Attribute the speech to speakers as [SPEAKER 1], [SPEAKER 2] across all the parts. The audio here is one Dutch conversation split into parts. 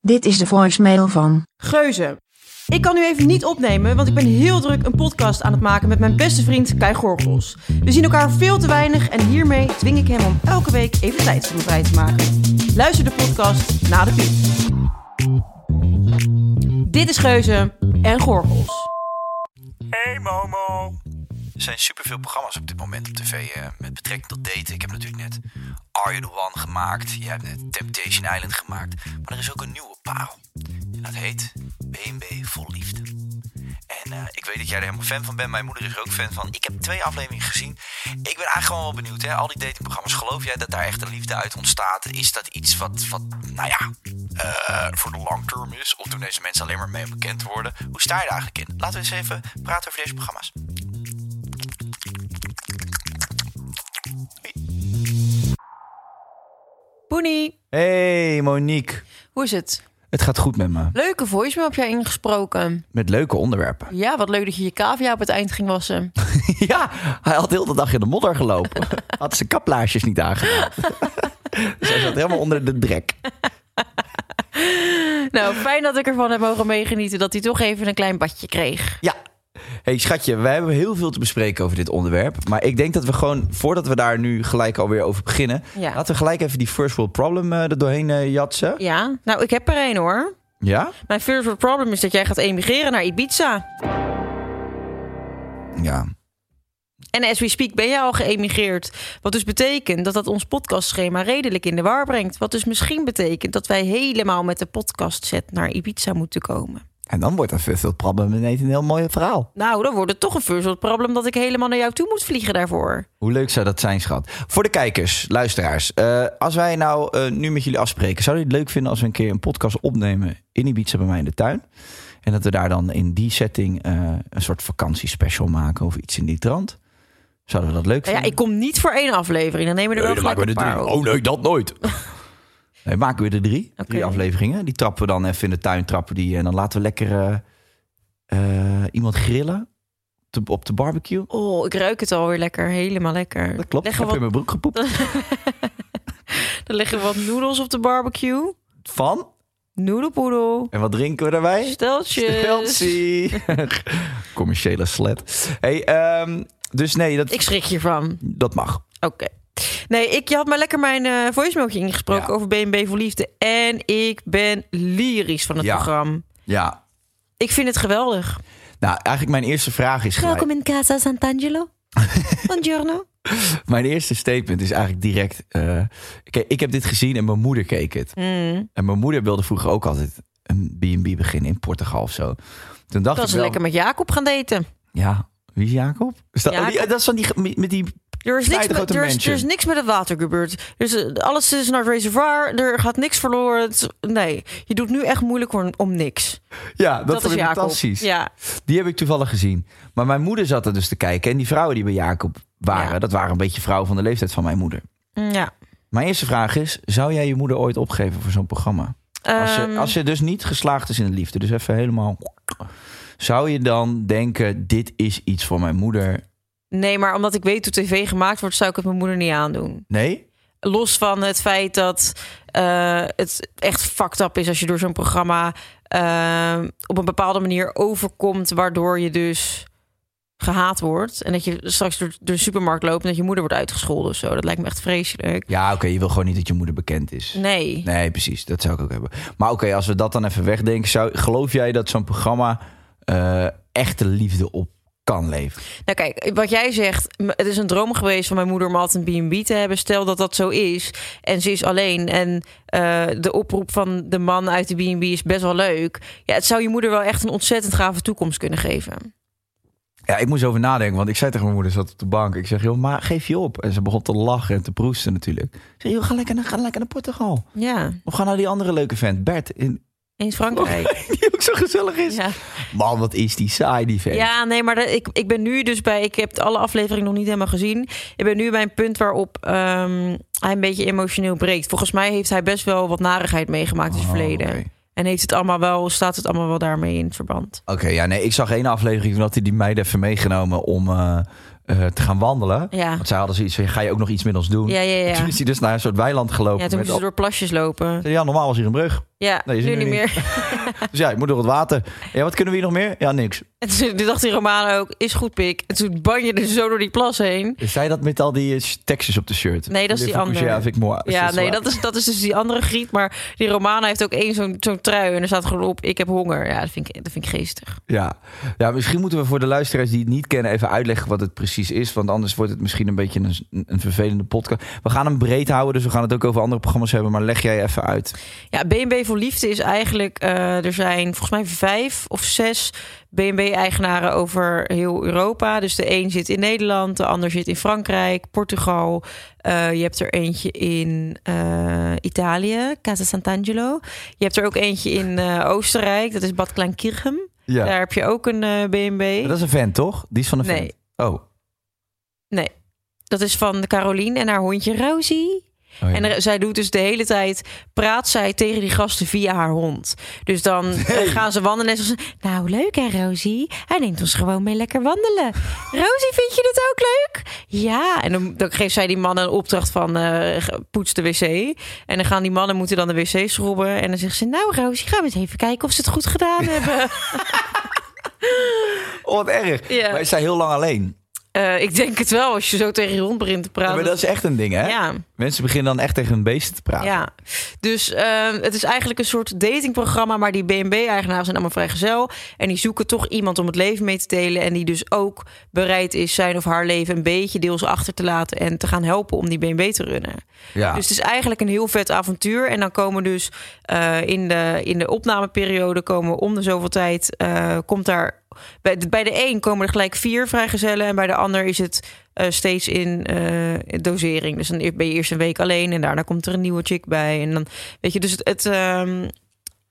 [SPEAKER 1] Dit is de voicemail van.
[SPEAKER 2] Geuze. Ik kan nu even niet opnemen, want ik ben heel druk een podcast aan het maken met mijn beste vriend Kai Gorgels. We zien elkaar veel te weinig en hiermee dwing ik hem om elke week even tijd voor me vrij te maken. Luister de podcast na de piep. Dit is Geuze en Gorgels.
[SPEAKER 3] Hey Momo. Er zijn superveel programma's op dit moment op tv eh, met betrekking tot daten. Ik heb natuurlijk net Are You The One gemaakt. Je hebt net Temptation Island gemaakt. Maar er is ook een nieuwe parel. En dat heet BNB Vol Liefde. En eh, ik weet dat jij er helemaal fan van bent. Mijn moeder is er ook fan van. Ik heb twee afleveringen gezien. Ik ben eigenlijk gewoon wel benieuwd. Hè? Al die datingprogramma's, geloof jij dat daar echt een liefde uit ontstaat? Is dat iets wat, wat nou ja, eh, voor de long term is? Of doen deze mensen alleen maar mee om bekend te worden? Hoe sta je er eigenlijk in? Laten we eens even praten over deze programma's.
[SPEAKER 2] Poenie,
[SPEAKER 3] Hey Monique,
[SPEAKER 2] hoe is het?
[SPEAKER 3] het gaat goed met me.
[SPEAKER 2] Leuke voicemail heb jij ingesproken.
[SPEAKER 3] Met leuke onderwerpen.
[SPEAKER 2] Ja, wat leuk dat je je cavia op het eind ging wassen.
[SPEAKER 3] ja, hij had heel de dag in de modder gelopen. Had zijn kaplaarsjes niet aangedaan. dus hij zat helemaal onder de drek.
[SPEAKER 2] Nou, fijn dat ik ervan heb mogen meegenieten dat hij toch even een klein badje kreeg.
[SPEAKER 3] Ja. hey, schatje, wij hebben heel veel te bespreken over dit onderwerp. Maar ik denk dat we gewoon, voordat we daar nu gelijk alweer over beginnen...
[SPEAKER 2] Ja.
[SPEAKER 3] laten we gelijk even die first world problem eh, er doorheen eh, jatsen.
[SPEAKER 2] Ja, nou ik heb er een hoor.
[SPEAKER 3] Ja?
[SPEAKER 2] Mijn first world problem is dat jij gaat emigreren naar Ibiza.
[SPEAKER 3] Ja.
[SPEAKER 2] En as we speak ben jij al geëmigreerd. Wat dus betekent dat dat ons podcastschema redelijk in de war brengt. Wat dus misschien betekent dat wij helemaal met de podcastset naar Ibiza moeten komen.
[SPEAKER 3] En dan wordt dat first world problem ineens een heel mooi verhaal.
[SPEAKER 2] Nou, dan wordt het toch een first world problem dat ik helemaal naar jou toe moet vliegen daarvoor.
[SPEAKER 3] Hoe leuk zou dat zijn, schat? Voor de kijkers, luisteraars. eh, als wij nou eh, nu met jullie afspreken... zou je het leuk vinden als we een keer een podcast opnemen... in Ibiza bij mij in de tuin? En dat we daar dan in die setting eh, een soort vakantiespecial maken... of iets in die trant? Zouden we dat leuk
[SPEAKER 2] Nou
[SPEAKER 3] vinden?
[SPEAKER 2] ja, ik kom niet voor één aflevering. Dan nemen we er Oh, wel gelijk een paar op.
[SPEAKER 3] nee, dat nooit. Nee, maken we er drie. Drie
[SPEAKER 2] Oké.
[SPEAKER 3] afleveringen. Die trappen we dan even in de tuin. Trappen die, en dan laten we lekker eh, eh, iemand grillen te- op de barbecue.
[SPEAKER 2] Oh, ik ruik het alweer lekker. Helemaal lekker.
[SPEAKER 3] Dat klopt. Ik
[SPEAKER 2] Leggen
[SPEAKER 3] heb
[SPEAKER 2] wat,
[SPEAKER 3] in mijn broek gepoept.
[SPEAKER 2] dan leggen we wat noedels op de barbecue.
[SPEAKER 3] Van?
[SPEAKER 2] Noedelpoedel.
[SPEAKER 3] En wat drinken we daarbij?
[SPEAKER 2] Steltjes.
[SPEAKER 3] Chelsea. Commerciële slet. Hey, ehm, dus nee, dat,
[SPEAKER 2] Ik schrik hiervan.
[SPEAKER 3] dat mag.
[SPEAKER 2] Oké. Nee, ik je had maar lekker mijn eh voicemailtje ingesproken
[SPEAKER 3] Ja.
[SPEAKER 2] over BNB voor Liefde. En ik ben lyrisch van het
[SPEAKER 3] Ja.
[SPEAKER 2] programma.
[SPEAKER 3] Ja.
[SPEAKER 2] Ik vind het geweldig.
[SPEAKER 3] Nou, eigenlijk mijn eerste vraag is gelijk.
[SPEAKER 2] in Casa Sant'Angelo. Buongiorno.
[SPEAKER 3] Mijn eerste statement is eigenlijk direct... eh, kijk, ik heb dit gezien en mijn moeder keek het.
[SPEAKER 2] Mm,
[SPEAKER 3] En mijn moeder wilde vroeger ook altijd een B&B beginnen in Portugal of zo. Toen dacht
[SPEAKER 2] dat
[SPEAKER 3] ik
[SPEAKER 2] ze
[SPEAKER 3] wel,
[SPEAKER 2] lekker met Jacob gaan daten.
[SPEAKER 3] ja, wie is Jacob? Is dat, oh, die-
[SPEAKER 2] Jacob.
[SPEAKER 3] dat is van die, ge- met die,
[SPEAKER 2] Er is, niks
[SPEAKER 3] Vrijdag
[SPEAKER 2] met,
[SPEAKER 3] grote
[SPEAKER 2] er, is,
[SPEAKER 3] mansion.
[SPEAKER 2] er is niks met het water gebeurd. Dus eh, alles is naar het reservoir. Er gaat niks verloren. Het is- Nee, je doet nu echt moeilijk om, om niks.
[SPEAKER 3] ja, dat,
[SPEAKER 2] is
[SPEAKER 3] vond ik
[SPEAKER 2] Jacob.
[SPEAKER 3] fantastisch.
[SPEAKER 2] Ja,
[SPEAKER 3] Die heb ik toevallig gezien. Maar mijn moeder zat er dus te kijken en die vrouwen die bij Jacob waren,
[SPEAKER 2] Ja.
[SPEAKER 3] dat waren een beetje vrouwen van de leeftijd van mijn moeder.
[SPEAKER 2] ja.
[SPEAKER 3] Mijn eerste vraag is, zou jij je moeder ooit opgeven voor zo'n programma? Als
[SPEAKER 2] Ehm,
[SPEAKER 3] ze, als ze dus niet geslaagd is in de liefde, dus even helemaal... Zou je dan denken, dit is iets voor mijn moeder?
[SPEAKER 2] Nee, maar omdat ik weet hoe tv gemaakt wordt, zou ik het mijn moeder niet aandoen.
[SPEAKER 3] Nee?
[SPEAKER 2] Los van het feit dat eh, het echt fucked up is als je door zo'n programma eh, op een bepaalde manier overkomt, waardoor je dus gehaat wordt. En dat je straks door, door de supermarkt loopt en dat je moeder wordt uitgescholden of zo. Dat lijkt me echt vreselijk.
[SPEAKER 3] Ja, oké, je wil gewoon niet dat je moeder bekend is.
[SPEAKER 2] Nee.
[SPEAKER 3] Nee, precies. Dat zou ik ook hebben. Maar oké, als we dat dan even wegdenken, zou, geloof jij dat zo'n programma eh, echte liefde op kan leveren?
[SPEAKER 2] Nou kijk, wat jij zegt, m- het is een droom geweest van mijn moeder om altijd een B&B te hebben. Stel dat dat zo is en ze is alleen en eh, de oproep van de man uit de B&B is best wel leuk. Ja, het zou je moeder wel echt een ontzettend gave toekomst kunnen geven.
[SPEAKER 3] Ja, ik moest over nadenken, want ik zei tegen mijn moeder, zat op de bank. Ik zeg, joh, maar geef je op. En ze begon te lachen en te proesten natuurlijk. Ik zeg, joh, ga lekker naar, ga lekker naar Portugal.
[SPEAKER 2] Ja,
[SPEAKER 3] Of ga naar die andere leuke vent, Bert, in,
[SPEAKER 2] in Frankrijk.
[SPEAKER 3] die ook zo gezellig is.
[SPEAKER 2] Ja.
[SPEAKER 3] Man, wat is die saai, die vent.
[SPEAKER 2] ja, nee, maar dat- ik, ik ben nu dus bij... Ik heb alle afleveringen nog niet helemaal gezien. Ik ben nu bij een punt waarop ehm, hij een beetje emotioneel breekt. Volgens mij heeft hij best wel wat narigheid meegemaakt in het
[SPEAKER 3] Oh,
[SPEAKER 2] verleden.
[SPEAKER 3] oké.
[SPEAKER 2] En heeft het allemaal wel, staat het allemaal wel daarmee in het verband.
[SPEAKER 3] Oké, ja, nee, ik zag één aflevering van dat hij die meiden even meegenomen om eh, eh, te gaan wandelen.
[SPEAKER 2] Ja.
[SPEAKER 3] Want zij hadden zoiets van, ga je ook nog iets met ons doen?
[SPEAKER 2] Ja, ja, ja.
[SPEAKER 3] Toen is hij dus naar een soort weiland gelopen.
[SPEAKER 2] Ja,
[SPEAKER 3] met
[SPEAKER 2] toen moesten ze door plasjes lopen.
[SPEAKER 3] Ja, normaal was hier een brug.
[SPEAKER 2] Ja,
[SPEAKER 3] Nee, is
[SPEAKER 2] nu
[SPEAKER 3] er
[SPEAKER 2] niet meer.
[SPEAKER 3] Dus ja, je moet door het water. Ja, wat kunnen we hier nog meer? Ja, niks.
[SPEAKER 2] En toen dacht die Romaan ook, is goed pik. En toen ban je er zo door die plas heen.
[SPEAKER 3] Is Dus zij dat met al die eh, tekstjes op de shirt?
[SPEAKER 2] Nee, dat is die andere.
[SPEAKER 3] Ja, vind ik mooi.
[SPEAKER 2] Ja, nee,
[SPEAKER 3] waar.
[SPEAKER 2] dat is, dat is dus die andere griet. Maar die Romana heeft ook één zo'n zo'n trui. En er staat gewoon op, ik heb honger. Ja, dat vind ik, dat vind ik geestig.
[SPEAKER 3] Ja. ja, misschien moeten we voor de luisteraars die het niet kennen even uitleggen wat het precies is. Want anders wordt het misschien een beetje een, een vervelende podcast. We gaan hem breed houden, dus we gaan het ook over andere programma's hebben. Maar leg jij even uit.
[SPEAKER 2] Ja, BNB voor Liefde is eigenlijk... eh, er zijn volgens mij vijf of zes BNB-eigenaren over heel Europa. Dus de een zit in Nederland, de ander zit in Frankrijk, Portugal. Eh, je hebt er eentje in eh, Italië, Casa Sant'Angelo. Je hebt er ook eentje in eh, Oostenrijk, dat is Bad Kleinkirchen.
[SPEAKER 3] Ja.
[SPEAKER 2] Daar heb je ook een eh, BNB.
[SPEAKER 3] Dat is een vent, toch? Die is van een
[SPEAKER 2] Nee.
[SPEAKER 3] vent. Oh. oh
[SPEAKER 2] Dat is van Caroline en haar hondje Rosie.
[SPEAKER 3] ja.
[SPEAKER 2] En er- zij doet dus de hele tijd, praat zij tegen die gasten via haar hond. Dus dan eh, gaan ze wandelen en ze zegt, nou leuk hè Rosie, hij neemt ons gewoon mee lekker wandelen. Rosie, vind je dit ook leuk? Ja, en dan, dan geeft zij die mannen een opdracht van eh, ge- poets de wc. En dan gaan die mannen moeten dan de wc schrobben. En dan zegt ze, nou Rosie, gaan we eens even kijken of ze het goed gedaan hebben.
[SPEAKER 3] Oh, wat erg.
[SPEAKER 2] Ja.
[SPEAKER 3] Maar is zij heel lang alleen?
[SPEAKER 2] Eh, ik denk het wel, als je zo tegen je hond begint te praten.
[SPEAKER 3] maar dat is echt een ding, hè?
[SPEAKER 2] ja.
[SPEAKER 3] Mensen beginnen dan echt tegen hun beesten te praten.
[SPEAKER 2] Ja, dus ehm, het is eigenlijk een soort datingprogramma, maar die BNB-eigenaren zijn allemaal vrijgezel. En die zoeken toch iemand om het leven mee te delen. En die dus ook bereid is zijn of haar leven een beetje deels achter te laten en te gaan helpen om die BNB te runnen.
[SPEAKER 3] Ja.
[SPEAKER 2] Dus het is eigenlijk een heel vet avontuur. En dan komen dus eh, in, de, in de opnameperiode komen om de zoveel tijd eh, komt daar. Bij de, bij de een komen er gelijk vier vrijgezellen. En bij de ander is het eh, steeds in eh, dosering. Dus dan ben je eerst een week alleen en daarna komt er een nieuwe chick bij. En dan weet je, dus het. het ehm,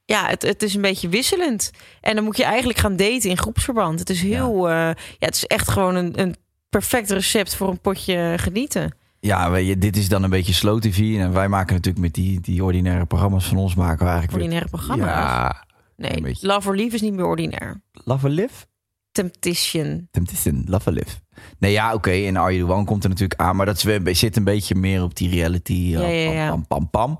[SPEAKER 2] ja, het, het is een beetje wisselend. En dan moet je eigenlijk gaan daten in groepsverband. Het is heel. eh, ja, het is echt gewoon een, een perfect recept voor een potje genieten.
[SPEAKER 3] Ja, weet je, dit is dan een beetje slow TV. En wij maken natuurlijk met die, die ordinaire programma's van ons maken we eigenlijk weer...
[SPEAKER 2] Ordinaire programma's.
[SPEAKER 3] Ja. Een
[SPEAKER 2] Nee,
[SPEAKER 3] beetje.
[SPEAKER 2] Love or Leave is niet meer ordinair.
[SPEAKER 3] Love or Live?
[SPEAKER 2] Temptation.
[SPEAKER 3] Temptation, Love or Live. Nee, ja, oké. En Are You The One komt er natuurlijk aan. Maar dat is, weer- zit een beetje meer op die reality. eh,
[SPEAKER 2] Ja, ja, ja.
[SPEAKER 3] Pam, pam, pam, pam.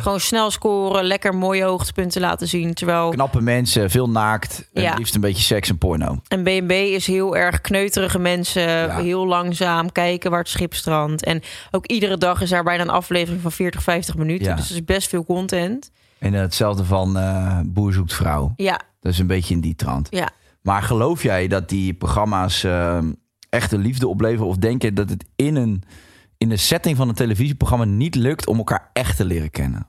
[SPEAKER 2] Gewoon snel scoren, lekker mooie hoogtepunten laten zien. Terwijl
[SPEAKER 3] Knappe mensen, veel naakt. En
[SPEAKER 2] Ja.
[SPEAKER 3] liefst een beetje seks en porno.
[SPEAKER 2] een BNB is heel erg kneuterige mensen. Heel langzaam kijken waar het schip strandt. En ook iedere dag is daar bijna een aflevering van 40, 50 minuten.
[SPEAKER 3] Ja.
[SPEAKER 2] Dus het is best veel content.
[SPEAKER 3] En eh, hetzelfde van eh, Boer zoekt vrouw.
[SPEAKER 2] Ja,
[SPEAKER 3] Dat is een beetje in die trant.
[SPEAKER 2] ja.
[SPEAKER 3] Maar geloof jij dat die programma's eh, echte liefde opleveren? Of denk je dat het in een in de setting van een televisieprogramma niet lukt om elkaar echt te leren kennen?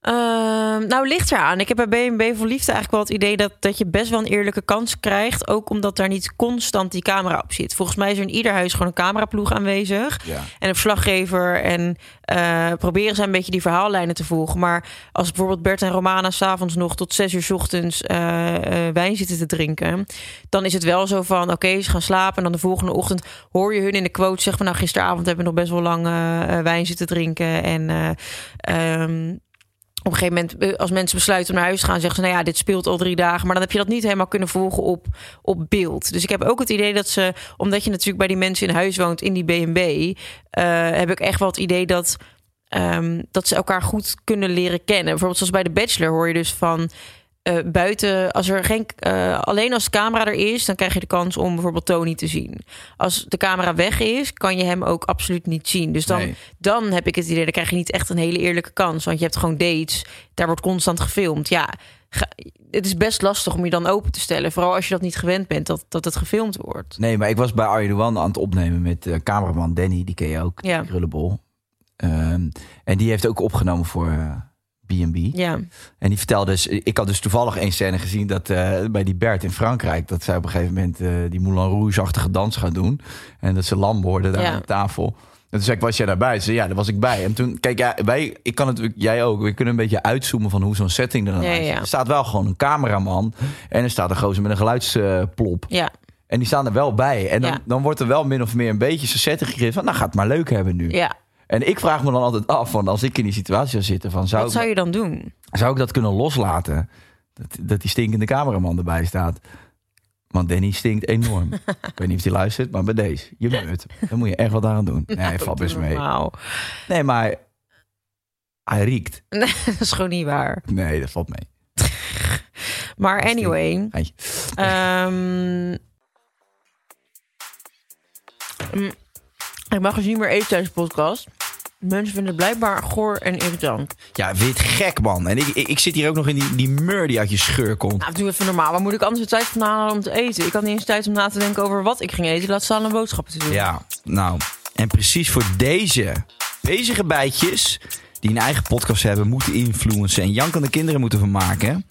[SPEAKER 2] Ehm, nou, ligt eraan. Ik heb bij BNB voor Liefde eigenlijk wel het idee dat, dat je best wel een eerlijke kans krijgt. Ook omdat daar niet constant die camera op zit. Volgens mij is er in ieder huis gewoon een cameraploeg aanwezig.
[SPEAKER 3] Ja.
[SPEAKER 2] En een verslaggever. En eh, proberen zij een beetje die verhaallijnen te volgen. Maar als bijvoorbeeld Bert en Romana s'avonds nog tot zes uur 's ochtends eh, eh, wijn zitten te drinken. Dan is het wel zo van: oké, ze gaan slapen. En dan de volgende ochtend hoor je hun in de quote zeggen: van, Nou, gisteravond hebben we nog best wel lang eh, eh, wijn zitten drinken. En. eh, ehm, op een gegeven moment, eh, als mensen besluiten om naar huis te gaan, zeggen ze: Nou ja, dit speelt al drie dagen. Maar dan heb je dat niet helemaal kunnen volgen op, op beeld. Dus ik heb ook het idee dat ze, omdat je natuurlijk bij die mensen in huis woont, in die BNB, eh, heb ik echt wel het idee dat, ehm, dat ze elkaar goed kunnen leren kennen. Bijvoorbeeld, zoals bij de Bachelor hoor je dus van. eh, buiten, als er geen, eh, alleen als de camera er is, dan krijg je de kans om bijvoorbeeld Tony te zien. Als de camera weg is, kan je hem ook absoluut niet zien. Dus dan
[SPEAKER 3] Nee.
[SPEAKER 2] dan heb ik het idee, dan krijg je niet echt een hele eerlijke kans. Want je hebt gewoon dates, daar wordt constant gefilmd. Ja, ga- het is best lastig om je dan open te stellen. Vooral als je dat niet gewend bent, dat, dat het gefilmd wordt.
[SPEAKER 3] Nee, maar ik was bij Arjen One aan het opnemen met eh, cameraman Danny, die ken je ook,
[SPEAKER 2] Ja.
[SPEAKER 3] die krullenbol. Ehm, en die heeft ook opgenomen voor eh, B&B.
[SPEAKER 2] Ja,
[SPEAKER 3] En die vertelde dus, ik had dus toevallig één scène gezien dat eh, bij die Bert in Frankrijk, dat zij op een gegeven moment eh, die Moulin Rouge-achtige dans gaan doen. En dat ze lam worden daar
[SPEAKER 2] Ja.
[SPEAKER 3] aan de tafel. En toen zei ik, was jij daarbij? Ze zei, ja, daar was ik bij. En toen, kijk, ja, wij, ik kan natuurlijk, jij ook, we kunnen een beetje uitzoomen van hoe zo'n setting er dan
[SPEAKER 2] Ja, ja,
[SPEAKER 3] uitziet.
[SPEAKER 2] ja.
[SPEAKER 3] Er staat wel gewoon een cameraman en er staat een gozer met een geluidsplop.
[SPEAKER 2] ja,
[SPEAKER 3] En die staan er wel bij. En dan,
[SPEAKER 2] Ja.
[SPEAKER 3] dan wordt er wel min of meer een beetje zo'n setting gegeven van, nou, gaat het maar leuk hebben nu.
[SPEAKER 2] ja.
[SPEAKER 3] En ik vraag me dan altijd af, van als ik in die situatie zou zitten, van zou
[SPEAKER 2] Wat
[SPEAKER 3] ik
[SPEAKER 2] zou je dan doen?
[SPEAKER 3] zou ik dat kunnen loslaten? Dat, dat die stinkende cameraman erbij staat. Want Danny stinkt enorm. ik weet niet of hij luistert, maar bij deze. Je moet Dan moet je echt wat aan doen. Nee, valt best mee.
[SPEAKER 2] Normaal.
[SPEAKER 3] Nee, maar Hij riekt.
[SPEAKER 2] dat is gewoon niet waar.
[SPEAKER 3] Nee, dat valt mee.
[SPEAKER 2] Maar anyway.
[SPEAKER 3] Geintje.
[SPEAKER 2] Ehm, mm, ik mag dus niet meer eten tijdens de podcast. Mensen vinden het blijkbaar goor en irritant.
[SPEAKER 3] Ja, wit gek, man. En ik, ik, ik zit hier ook nog in die, die mur die uit je scheur komt.
[SPEAKER 2] Nou, doe even normaal. Waar moet ik anders de tijd vandaan halen om te eten? Ik had niet eens tijd om na te denken over wat ik ging eten. Laat staan een boodschappen te doen.
[SPEAKER 3] Ja, nou. En precies voor deze bezige bijtjes... die een eigen podcast hebben, moeten influencen... en jankende kinderen moeten vermaken...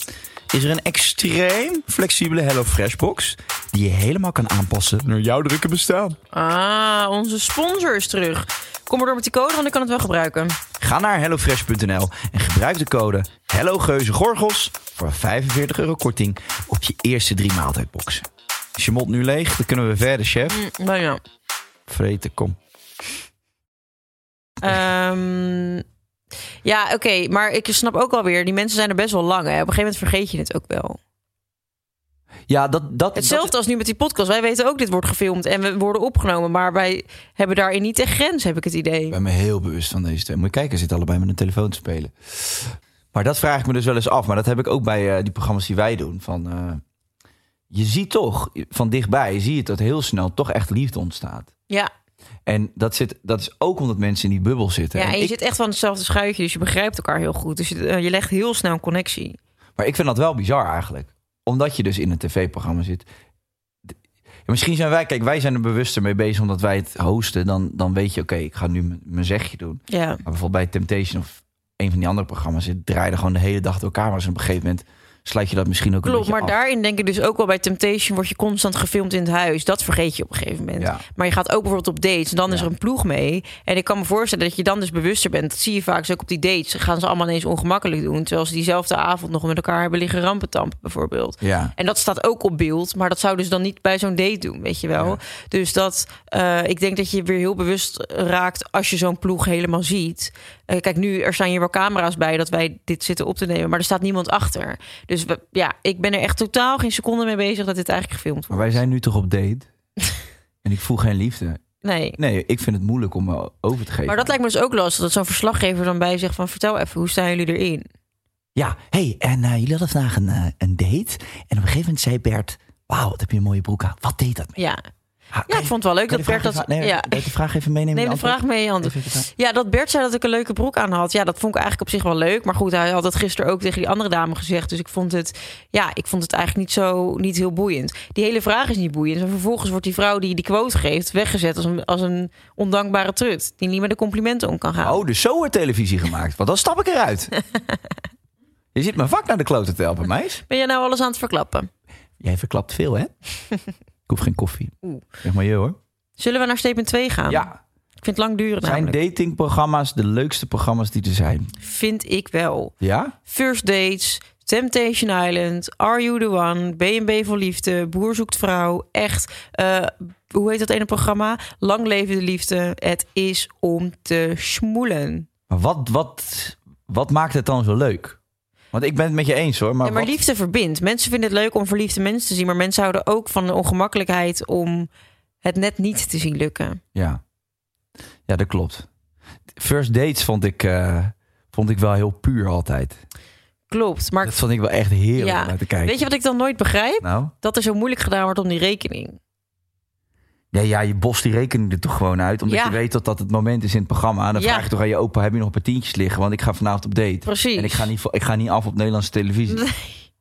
[SPEAKER 3] is er een extreem flexibele HelloFresh-box... die je helemaal kan aanpassen naar jouw drukke bestaan.
[SPEAKER 2] Ah, onze sponsor is terug. Kom maar door met die code, want ik kan het wel gebruiken.
[SPEAKER 3] Ga naar hellofresh.nl en gebruik de code HelloGeuzeGorgels... voor 45 euro korting op je eerste drie maaltijdboxen. Is je mond nu leeg? Dan kunnen we verder, chef.
[SPEAKER 2] Mm, bijna.
[SPEAKER 3] Vreten, kom.
[SPEAKER 2] Ehm, ja, oké. maar ik snap ook alweer, die mensen zijn er best wel lang. Hè. Op een gegeven moment vergeet je het ook wel.
[SPEAKER 3] Ja, dat... dat
[SPEAKER 2] Hetzelfde als nu met die podcast. Wij weten ook, dit wordt gefilmd en we worden opgenomen. Maar wij hebben daarin niet een grens, heb ik het idee.
[SPEAKER 3] Ik ben me heel bewust van deze twee. Moet je kijken, zitten allebei met een telefoon te spelen. Maar dat vraag ik me dus wel eens af. Maar dat heb ik ook bij eh, die programma's die wij doen. Van, eh, je ziet toch, van dichtbij zie je dat heel snel toch echt liefde ontstaat.
[SPEAKER 2] Ja,
[SPEAKER 3] En dat, zit, dat is ook omdat mensen in die bubbel zitten.
[SPEAKER 2] ja en
[SPEAKER 3] En
[SPEAKER 2] je
[SPEAKER 3] ik-
[SPEAKER 2] zit echt van hetzelfde schuitje, dus je begrijpt elkaar heel goed. Dus je, eh, je legt heel snel een connectie.
[SPEAKER 3] Maar ik vind dat wel bizar eigenlijk. Omdat je dus in een tv-programma zit. D- ja, misschien zijn wij, kijk, wij zijn er bewuster mee bezig omdat wij het hosten. Dan, dan weet je, oké, ik ga nu mijn- mijn zegje doen.
[SPEAKER 2] Ja.
[SPEAKER 3] Maar bijvoorbeeld bij Temptation of een van die andere programma's, het draaide gewoon de hele dag door camera's. En op een gegeven moment sluit je dat misschien ook
[SPEAKER 2] Klopt,
[SPEAKER 3] een
[SPEAKER 2] maar
[SPEAKER 3] beetje af.
[SPEAKER 2] daarin denk ik dus ook wel bij Temptation word je constant gefilmd in het huis. Dat vergeet je op een gegeven moment.
[SPEAKER 3] Ja.
[SPEAKER 2] Maar je gaat ook bijvoorbeeld op dates en dan is
[SPEAKER 3] Ja.
[SPEAKER 2] er een ploeg mee. En ik kan me voorstellen dat je dan dus bewuster bent. Dat zie je vaak dus ook op die dates. Dan Gaan ze allemaal ineens ongemakkelijk doen. Terwijl ze diezelfde avond nog met elkaar hebben liggen rampentampen bijvoorbeeld.
[SPEAKER 3] Ja.
[SPEAKER 2] En dat staat ook op beeld, maar dat zou dus dan niet bij zo'n date doen, weet je wel.
[SPEAKER 3] Ja.
[SPEAKER 2] Dus dat, eh, ik denk dat je weer heel bewust raakt als je zo'n ploeg helemaal ziet. Eh, kijk, nu er zijn hier wel camera's bij dat wij dit zitten op te nemen, maar er staat niemand achter. Dus we- ja, ik ben er echt totaal geen seconde mee bezig dat dit eigenlijk gefilmd
[SPEAKER 3] Maar
[SPEAKER 2] wordt.
[SPEAKER 3] wij zijn nu toch op date? en ik voel geen liefde.
[SPEAKER 2] Nee.
[SPEAKER 3] Nee, ik vind het moeilijk om me over te geven.
[SPEAKER 2] Maar dat lijkt me dus ook lastig, dat zo'n verslaggever dan bij zegt van... vertel even, hoe staan jullie erin?
[SPEAKER 3] Ja, hey, en eh, jullie hadden vandaag een, eh, een date. En op een gegeven moment zei Bert, wauw, wat heb je een mooie broek aan. Wat deed dat met
[SPEAKER 2] Ja,
[SPEAKER 3] je? Ha,
[SPEAKER 2] ja
[SPEAKER 3] kan
[SPEAKER 2] ik
[SPEAKER 3] je-
[SPEAKER 2] vond het wel leuk
[SPEAKER 3] kan
[SPEAKER 2] dat
[SPEAKER 3] je
[SPEAKER 2] Bert
[SPEAKER 3] vraag
[SPEAKER 2] dat...
[SPEAKER 3] even- nee,
[SPEAKER 2] ja.
[SPEAKER 3] kan je de vraag even meenemen. in
[SPEAKER 2] Neem
[SPEAKER 3] je
[SPEAKER 2] de
[SPEAKER 3] antwoord?
[SPEAKER 2] vraag mee in je handen.
[SPEAKER 3] Even de vraag.
[SPEAKER 2] Ja, dat Bert zei dat ik een leuke broek aan had. Ja, dat vond ik eigenlijk op zich wel leuk. Maar goed, hij had dat gisteren ook tegen die andere dame gezegd. Dus ik vond het, ja, ik vond het eigenlijk niet zo, niet heel boeiend. Die hele vraag is niet boeiend. En vervolgens wordt die vrouw die die quote geeft weggezet als een, als een ondankbare trut. Die niet met de complimenten om kan gaan.
[SPEAKER 3] Oh, dus zo wordt televisie gemaakt. Want dan stap ik eruit. je zit mijn vak naar de klote te helpen, meis.
[SPEAKER 2] Ben jij nou alles aan het verklappen?
[SPEAKER 3] Jij verklapt veel, hè? ik hoef geen koffie.
[SPEAKER 2] Oeh.
[SPEAKER 3] Zeg maar je, hoor.
[SPEAKER 2] Zullen we naar statement 2 gaan?
[SPEAKER 3] Ja,
[SPEAKER 2] Ik vind het lang duren
[SPEAKER 3] zijn
[SPEAKER 2] namelijk.
[SPEAKER 3] datingprogramma's de leukste programma's die er zijn?
[SPEAKER 2] Vind ik wel.
[SPEAKER 3] Ja?
[SPEAKER 2] First Dates, Temptation Island, Are You The One, B&B voor Liefde, Boer Zoekt Vrouw. Echt, eh, hoe heet dat ene programma? Lang Leven de Liefde. Het is om te smoelen.
[SPEAKER 3] Maar wat, wat, wat maakt het dan zo leuk? Want ik ben het met je eens, hoor. Maar,
[SPEAKER 2] ja, maar
[SPEAKER 3] wat-
[SPEAKER 2] liefde verbindt. Mensen vinden het leuk om verliefde mensen te zien. Maar mensen houden ook van de ongemakkelijkheid om het net niet te zien lukken.
[SPEAKER 3] Ja. ja, dat klopt. First dates vond ik, eh, vond ik wel heel puur altijd.
[SPEAKER 2] Klopt, maar
[SPEAKER 3] Dat vond ik wel echt heerlijk
[SPEAKER 2] Ja.
[SPEAKER 3] om naar te kijken.
[SPEAKER 2] weet je wat ik dan nooit begrijp?
[SPEAKER 3] Nou?
[SPEAKER 2] Dat er zo moeilijk gedaan wordt om die rekening.
[SPEAKER 3] Ja, ja, je bost die rekening er toch gewoon uit. Omdat
[SPEAKER 2] Ja.
[SPEAKER 3] je weet dat dat het moment is in het programma. Dan
[SPEAKER 2] Ja.
[SPEAKER 3] vraag je toch aan je opa, heb je nog een paar tientjes liggen? Want ik ga vanavond op date.
[SPEAKER 2] Precies.
[SPEAKER 3] En ik ga niet, vo- ik ga niet af op Nederlandse televisie.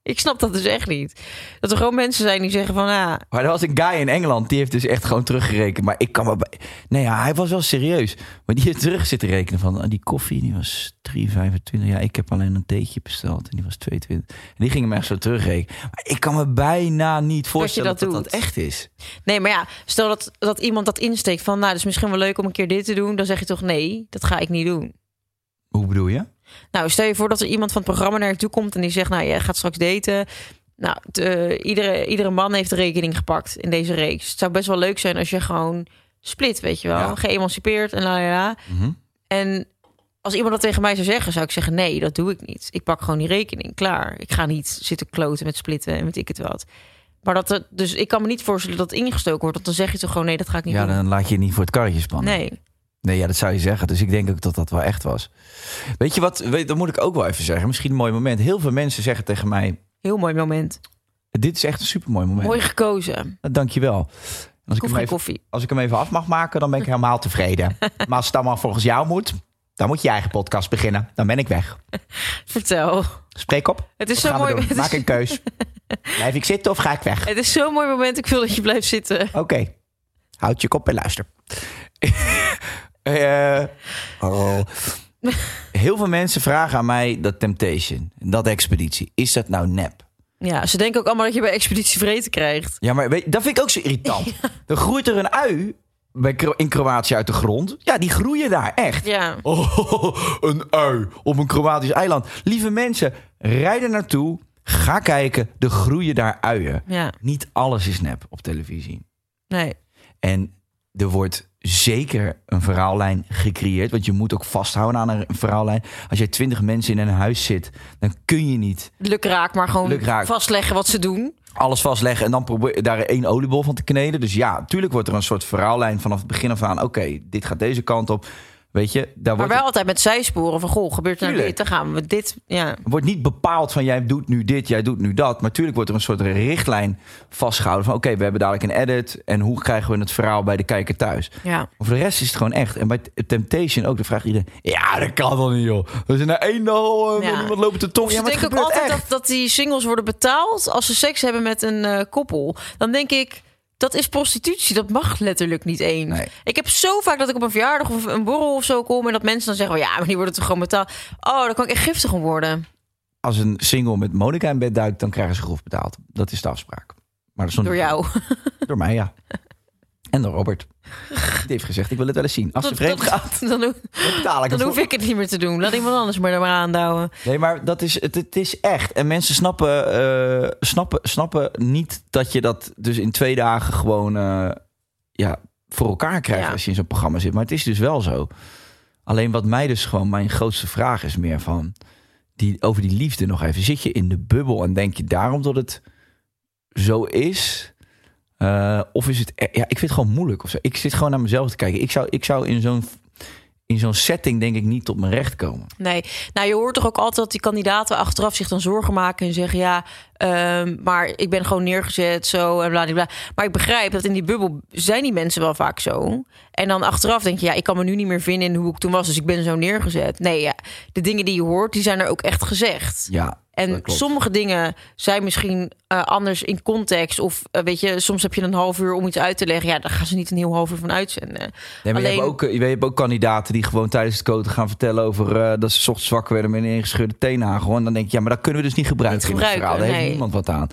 [SPEAKER 2] Ik snap dat dus echt niet. Dat er gewoon mensen zijn die zeggen van... Ah,
[SPEAKER 3] Maar er was een guy in Engeland, die heeft dus echt gewoon teruggerekend. Maar ik kan maar... bij- Nee, ja, hij was wel serieus. Maar die heeft terug zitten rekenen van... ah, Die koffie, die was 3,25. Ja, ik heb alleen een theetje besteld en die was 2,20. En die gingen me echt zo terugrekenen. Maar ik kan me bijna niet voorstellen dat
[SPEAKER 2] dat
[SPEAKER 3] dat, dat
[SPEAKER 2] doet.
[SPEAKER 3] echt is.
[SPEAKER 2] Nee, maar ja, stel dat, dat iemand dat insteekt van... nou, dat is misschien wel leuk om een keer dit te doen. Dan zeg je toch nee, dat ga ik niet doen.
[SPEAKER 3] Hoe bedoel je?
[SPEAKER 2] Nou, stel je voor dat er iemand van het programma naar je toe komt... en die zegt, nou, jij gaat straks daten. Nou, t- eh, iedere, iedere man heeft de rekening gepakt in deze reeks. Het zou best wel leuk zijn als je gewoon split, weet je wel.
[SPEAKER 3] Ja.
[SPEAKER 2] Geëmancipeerd en la, la, la.
[SPEAKER 3] Mhm.
[SPEAKER 2] En als iemand dat tegen mij zou zeggen, zou ik zeggen... nee, dat doe ik niet. Ik pak gewoon die rekening, klaar. Ik ga niet zitten kloten met splitten en met ik het wat. Maar dat er, dus ik kan me niet voorstellen dat het ingestoken wordt. Want dan zeg je toch gewoon, nee, dat ga ik niet
[SPEAKER 3] Ja,
[SPEAKER 2] doen.
[SPEAKER 3] dan laat je je niet voor het karretje spannen.
[SPEAKER 2] Nee.
[SPEAKER 3] Nee, ja, dat zou je zeggen. Dus ik denk ook dat dat wel echt was. Weet je wat, weet, dat moet ik ook wel even zeggen. Misschien een mooi moment. Heel veel mensen zeggen tegen mij...
[SPEAKER 2] Heel mooi moment.
[SPEAKER 3] Oh Dit is echt een supermooi moment.
[SPEAKER 2] Mooi gekozen.
[SPEAKER 3] Nou, dankjewel. Als
[SPEAKER 2] Ik
[SPEAKER 3] ik,
[SPEAKER 2] hoef
[SPEAKER 3] hem
[SPEAKER 2] geen
[SPEAKER 3] even,
[SPEAKER 2] koffie.
[SPEAKER 3] als ik hem even af mag maken, dan ben ik helemaal tevreden. Maar als het allemaal volgens jou moet, dan moet je je eigen podcast beginnen. Dan ben ik weg.
[SPEAKER 2] Vertel.
[SPEAKER 3] Spreek op.
[SPEAKER 2] Het is
[SPEAKER 3] Wat
[SPEAKER 2] zo'n
[SPEAKER 3] gaan we
[SPEAKER 2] mooi
[SPEAKER 3] doen?
[SPEAKER 2] moment.
[SPEAKER 3] Maak een keus. Blijf ik zitten of ga ik weg?
[SPEAKER 2] Het is zo'n mooi moment. Ik wil dat je blijft zitten.
[SPEAKER 3] Oké. Houd je kop en luister. Eh, oh. Heel veel mensen vragen aan mij dat Temptation, dat expeditie, is dat nou nep?
[SPEAKER 2] Ja, ze denken ook allemaal dat je bij Expeditie Vreten krijgt.
[SPEAKER 3] Ja, maar weet, dat vind ik ook zo irritant. Dan groeit er een ui bij, Kro- in Kroatië uit de grond. Ja, die groeien daar echt.
[SPEAKER 2] Ja.
[SPEAKER 3] Oh, een ui op een Kroatisch eiland. Lieve mensen, rijd er naartoe. Ga kijken, er groeien daar uien.
[SPEAKER 2] Ja,
[SPEAKER 3] Niet alles is nep op televisie.
[SPEAKER 2] nee.
[SPEAKER 3] En er wordt zeker een verhaallijn gecreëerd. Want je moet ook vasthouden aan een verhaallijn. Als jij twintig mensen in een huis zit, dan kun je niet
[SPEAKER 2] Luk raak, maar gewoon
[SPEAKER 3] Luk raak.
[SPEAKER 2] vastleggen wat ze doen.
[SPEAKER 3] alles vastleggen en dan probeer daar één oliebol van te kneden. Dus ja, tuurlijk wordt er een soort verhaallijn vanaf het begin af aan. Oké, dit gaat deze kant op. Weet je, daar
[SPEAKER 2] Maar
[SPEAKER 3] wordt,
[SPEAKER 2] wel altijd met zijsporen van, goh, gebeurt er nou
[SPEAKER 3] Tuurlijk.
[SPEAKER 2] dit, dan gaan we dit. Ja,
[SPEAKER 3] wordt niet bepaald van jij doet nu dit, jij doet nu dat. Maar tuurlijk wordt er een soort richtlijn vastgehouden van oké, we hebben dadelijk een edit en hoe krijgen we het verhaal bij de kijker thuis.
[SPEAKER 2] ja.
[SPEAKER 3] Maar voor de rest is het gewoon echt. En bij Temptation ook, dan vraagt iedereen... Ja, dat kan wel niet, joh. We zijn naar één al, eh,
[SPEAKER 2] Ja.
[SPEAKER 3] wil iemand lopen te tof.
[SPEAKER 2] Of
[SPEAKER 3] Ja,
[SPEAKER 2] ze
[SPEAKER 3] maar het
[SPEAKER 2] denken ook
[SPEAKER 3] gebeurt
[SPEAKER 2] altijd
[SPEAKER 3] echt.
[SPEAKER 2] dat, dat die singles worden betaald als ze seks hebben met een eh, koppel. Dan denk ik, dat is prostitutie. Dat mag letterlijk niet eens.
[SPEAKER 3] Nee.
[SPEAKER 2] Ik heb zo vaak dat ik op een verjaardag of een borrel of zo kom... en dat mensen dan zeggen, "Oh ja, maar die worden toch gewoon betaald. Oh, daar kan ik echt giftig om worden.
[SPEAKER 3] Als een single met Monica in bed duikt, dan krijgen ze grof betaald. Dat is de afspraak. Maar dat is nog
[SPEAKER 2] Door
[SPEAKER 3] niet-
[SPEAKER 2] jou.
[SPEAKER 3] Door mij, ja. En door Robert. Die heeft gezegd, ik wil het wel eens zien. Als ze
[SPEAKER 2] Dat-
[SPEAKER 3] vreemd
[SPEAKER 2] dat-
[SPEAKER 3] gaat,
[SPEAKER 2] Dan, hoef-
[SPEAKER 3] dan betaal ik
[SPEAKER 2] dan
[SPEAKER 3] het
[SPEAKER 2] hoef
[SPEAKER 3] voor.
[SPEAKER 2] ik het niet meer te doen. Laat iemand anders maar er maar aanhouden.
[SPEAKER 3] Nee, maar dat is, het, het is echt. En mensen snappen, eh, snappen, snappen niet dat je dat dus in twee dagen gewoon eh, ja, voor elkaar krijgt
[SPEAKER 2] Ja.
[SPEAKER 3] als je in zo'n programma zit. Maar het is dus wel zo. Alleen wat mij dus gewoon mijn grootste vraag is meer van die, over die liefde nog even. Zit je in de bubbel en denk je daarom dat het zo is? Eh, of is het, e- ja, ik vind het gewoon moeilijk of zo. Ik zit gewoon naar mezelf te kijken. Ik zou, ik zou in zo'n in zo'n setting denk ik niet tot mijn recht komen.
[SPEAKER 2] Nee, nou je hoort toch ook altijd dat die kandidaten achteraf zich dan zorgen maken en zeggen ja, ehm, maar ik ben gewoon neergezet zo en bla bla, bla. Maar ik begrijp dat in die bubbel zijn die mensen wel vaak zo. En dan achteraf denk je ja, ik kan me nu niet meer vinden in hoe ik toen was, dus ik ben zo neergezet. Nee, ja, de dingen die je hoort, die zijn er ook echt gezegd.
[SPEAKER 3] Ja,
[SPEAKER 2] En
[SPEAKER 3] dat klopt.
[SPEAKER 2] sommige dingen zijn misschien eh, anders in context. Of eh, weet je, soms heb je een half uur om iets uit te leggen. Ja, daar gaan ze niet een heel half uur van uitzenden.
[SPEAKER 3] Nee, maar je,
[SPEAKER 2] Alleen-
[SPEAKER 3] hebt ook, eh, je hebt ook kandidaten die gewoon tijdens het coaten gaan vertellen over eh, dat ze 's ochtends wakker werden met een ingescheurde teennagel. En dan denk je, ja, maar dat kunnen we dus niet gebruiken.
[SPEAKER 2] Niet
[SPEAKER 3] in het
[SPEAKER 2] gebruiken,
[SPEAKER 3] verhaal. Daar heeft
[SPEAKER 2] nee.
[SPEAKER 3] niemand wat aan.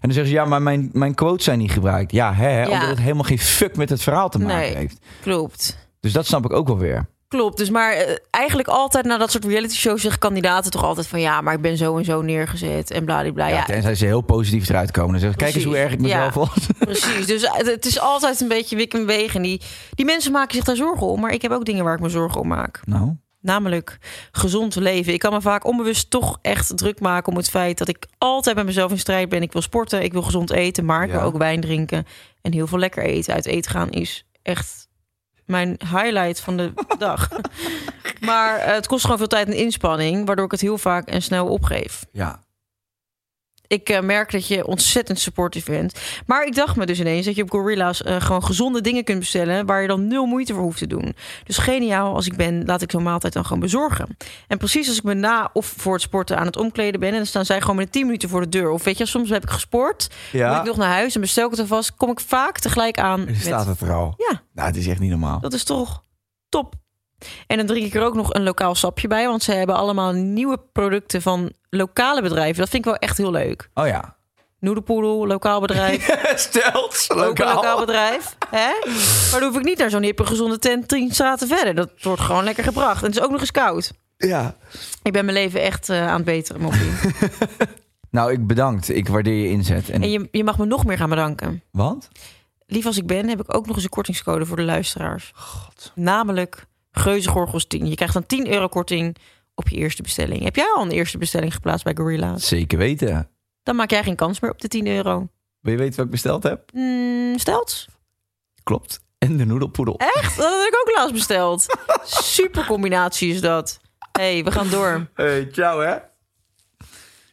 [SPEAKER 3] En dan zeggen ze, ja, maar mijn, mijn quotes zijn niet gebruikt. Ja, hè, hè,
[SPEAKER 2] Ja.
[SPEAKER 3] omdat het helemaal geen fuck met het verhaal te maken
[SPEAKER 2] Nee.
[SPEAKER 3] heeft.
[SPEAKER 2] Klopt.
[SPEAKER 3] Dus dat snap ik ook wel weer.
[SPEAKER 2] Klopt, dus maar eh, eigenlijk altijd na dat soort reality shows zeggen kandidaten toch altijd van ja, maar ik ben zo en zo neergezet en bladibla.
[SPEAKER 3] Ja,
[SPEAKER 2] Ja,
[SPEAKER 3] Tenzij ze heel positief eruit komen. Dan zeggen ze, kijk eens hoe
[SPEAKER 2] Precies.
[SPEAKER 3] erg ik mezelf
[SPEAKER 2] Ja.
[SPEAKER 3] was.
[SPEAKER 2] precies. Dus het- het is altijd een beetje wik en weeg en die, die mensen maken zich daar zorgen om, maar ik heb ook dingen waar ik me zorgen om maak.
[SPEAKER 3] Nou,
[SPEAKER 2] Namelijk gezond leven. Ik kan me vaak onbewust toch echt druk maken om het feit dat ik altijd met mezelf in strijd ben. Ik wil sporten, ik wil gezond eten, maar ik
[SPEAKER 3] Ja.
[SPEAKER 2] wil ook wijn drinken en heel veel lekker eten. Uit eten gaan is echt mijn highlight van de dag. Maar eh, het kost gewoon veel tijd en inspanning, waardoor ik het heel vaak en snel opgeef.
[SPEAKER 3] ja.
[SPEAKER 2] Ik eh, merk dat je ontzettend supportive bent. Maar ik dacht me dus ineens dat je op Gorilla's eh, gewoon gezonde dingen kunt bestellen... waar je dan nul moeite voor hoeft te doen. Dus geniaal als ik ben, laat ik zo'n maaltijd dan gewoon bezorgen. En precies als ik me na of voor het sporten aan het omkleden ben... en dan staan zij gewoon binnen 10 minuten voor de deur. Of weet je, soms heb ik gesport, moet
[SPEAKER 3] Ja,
[SPEAKER 2] ik nog naar huis en bestel ik het alvast... kom ik vaak tegelijk aan
[SPEAKER 3] Er staat
[SPEAKER 2] met...
[SPEAKER 3] het er al.
[SPEAKER 2] Ja.
[SPEAKER 3] Nou, het is echt niet normaal.
[SPEAKER 2] Dat is toch top. En dan drink ik er ook nog een lokaal sapje bij... want ze hebben allemaal nieuwe producten van lokale bedrijven. Dat vind ik wel echt heel leuk.
[SPEAKER 3] Oh ja.
[SPEAKER 2] Noedepoedel, lokaal bedrijf...
[SPEAKER 3] Stelt,
[SPEAKER 2] Ook een
[SPEAKER 3] lokaal.
[SPEAKER 2] lokaal bedrijf. Hè? Maar dan hoef ik niet naar zo'n hippe gezonde tent tien straten verder. Dat wordt gewoon lekker gebracht. En het is ook nog eens koud.
[SPEAKER 3] Ja.
[SPEAKER 2] Ik ben mijn leven echt eh, aan het beteren, Moppie.
[SPEAKER 3] Nou, ik bedankt. Ik waardeer je inzet. En,
[SPEAKER 2] En je, je mag me nog meer gaan bedanken.
[SPEAKER 3] Want?
[SPEAKER 2] Lief als ik ben, heb ik ook nog eens een kortingscode voor de luisteraars. Namelijk Geuzegorgels 10. Je krijgt dan 10 euro korting op je eerste bestelling. Heb jij al een eerste bestelling geplaatst bij Gorilla's?
[SPEAKER 3] Zeker weten.
[SPEAKER 2] Dan maak jij geen kans meer op de 10 euro.
[SPEAKER 3] Wil je weten wat ik besteld heb?
[SPEAKER 2] Mm, stelt?
[SPEAKER 3] Klopt. en de noedelpoedel.
[SPEAKER 2] Echt? Dat had ik ook laatst besteld. Super combinatie is dat. hey, we gaan door.
[SPEAKER 3] Hey, ciao hè.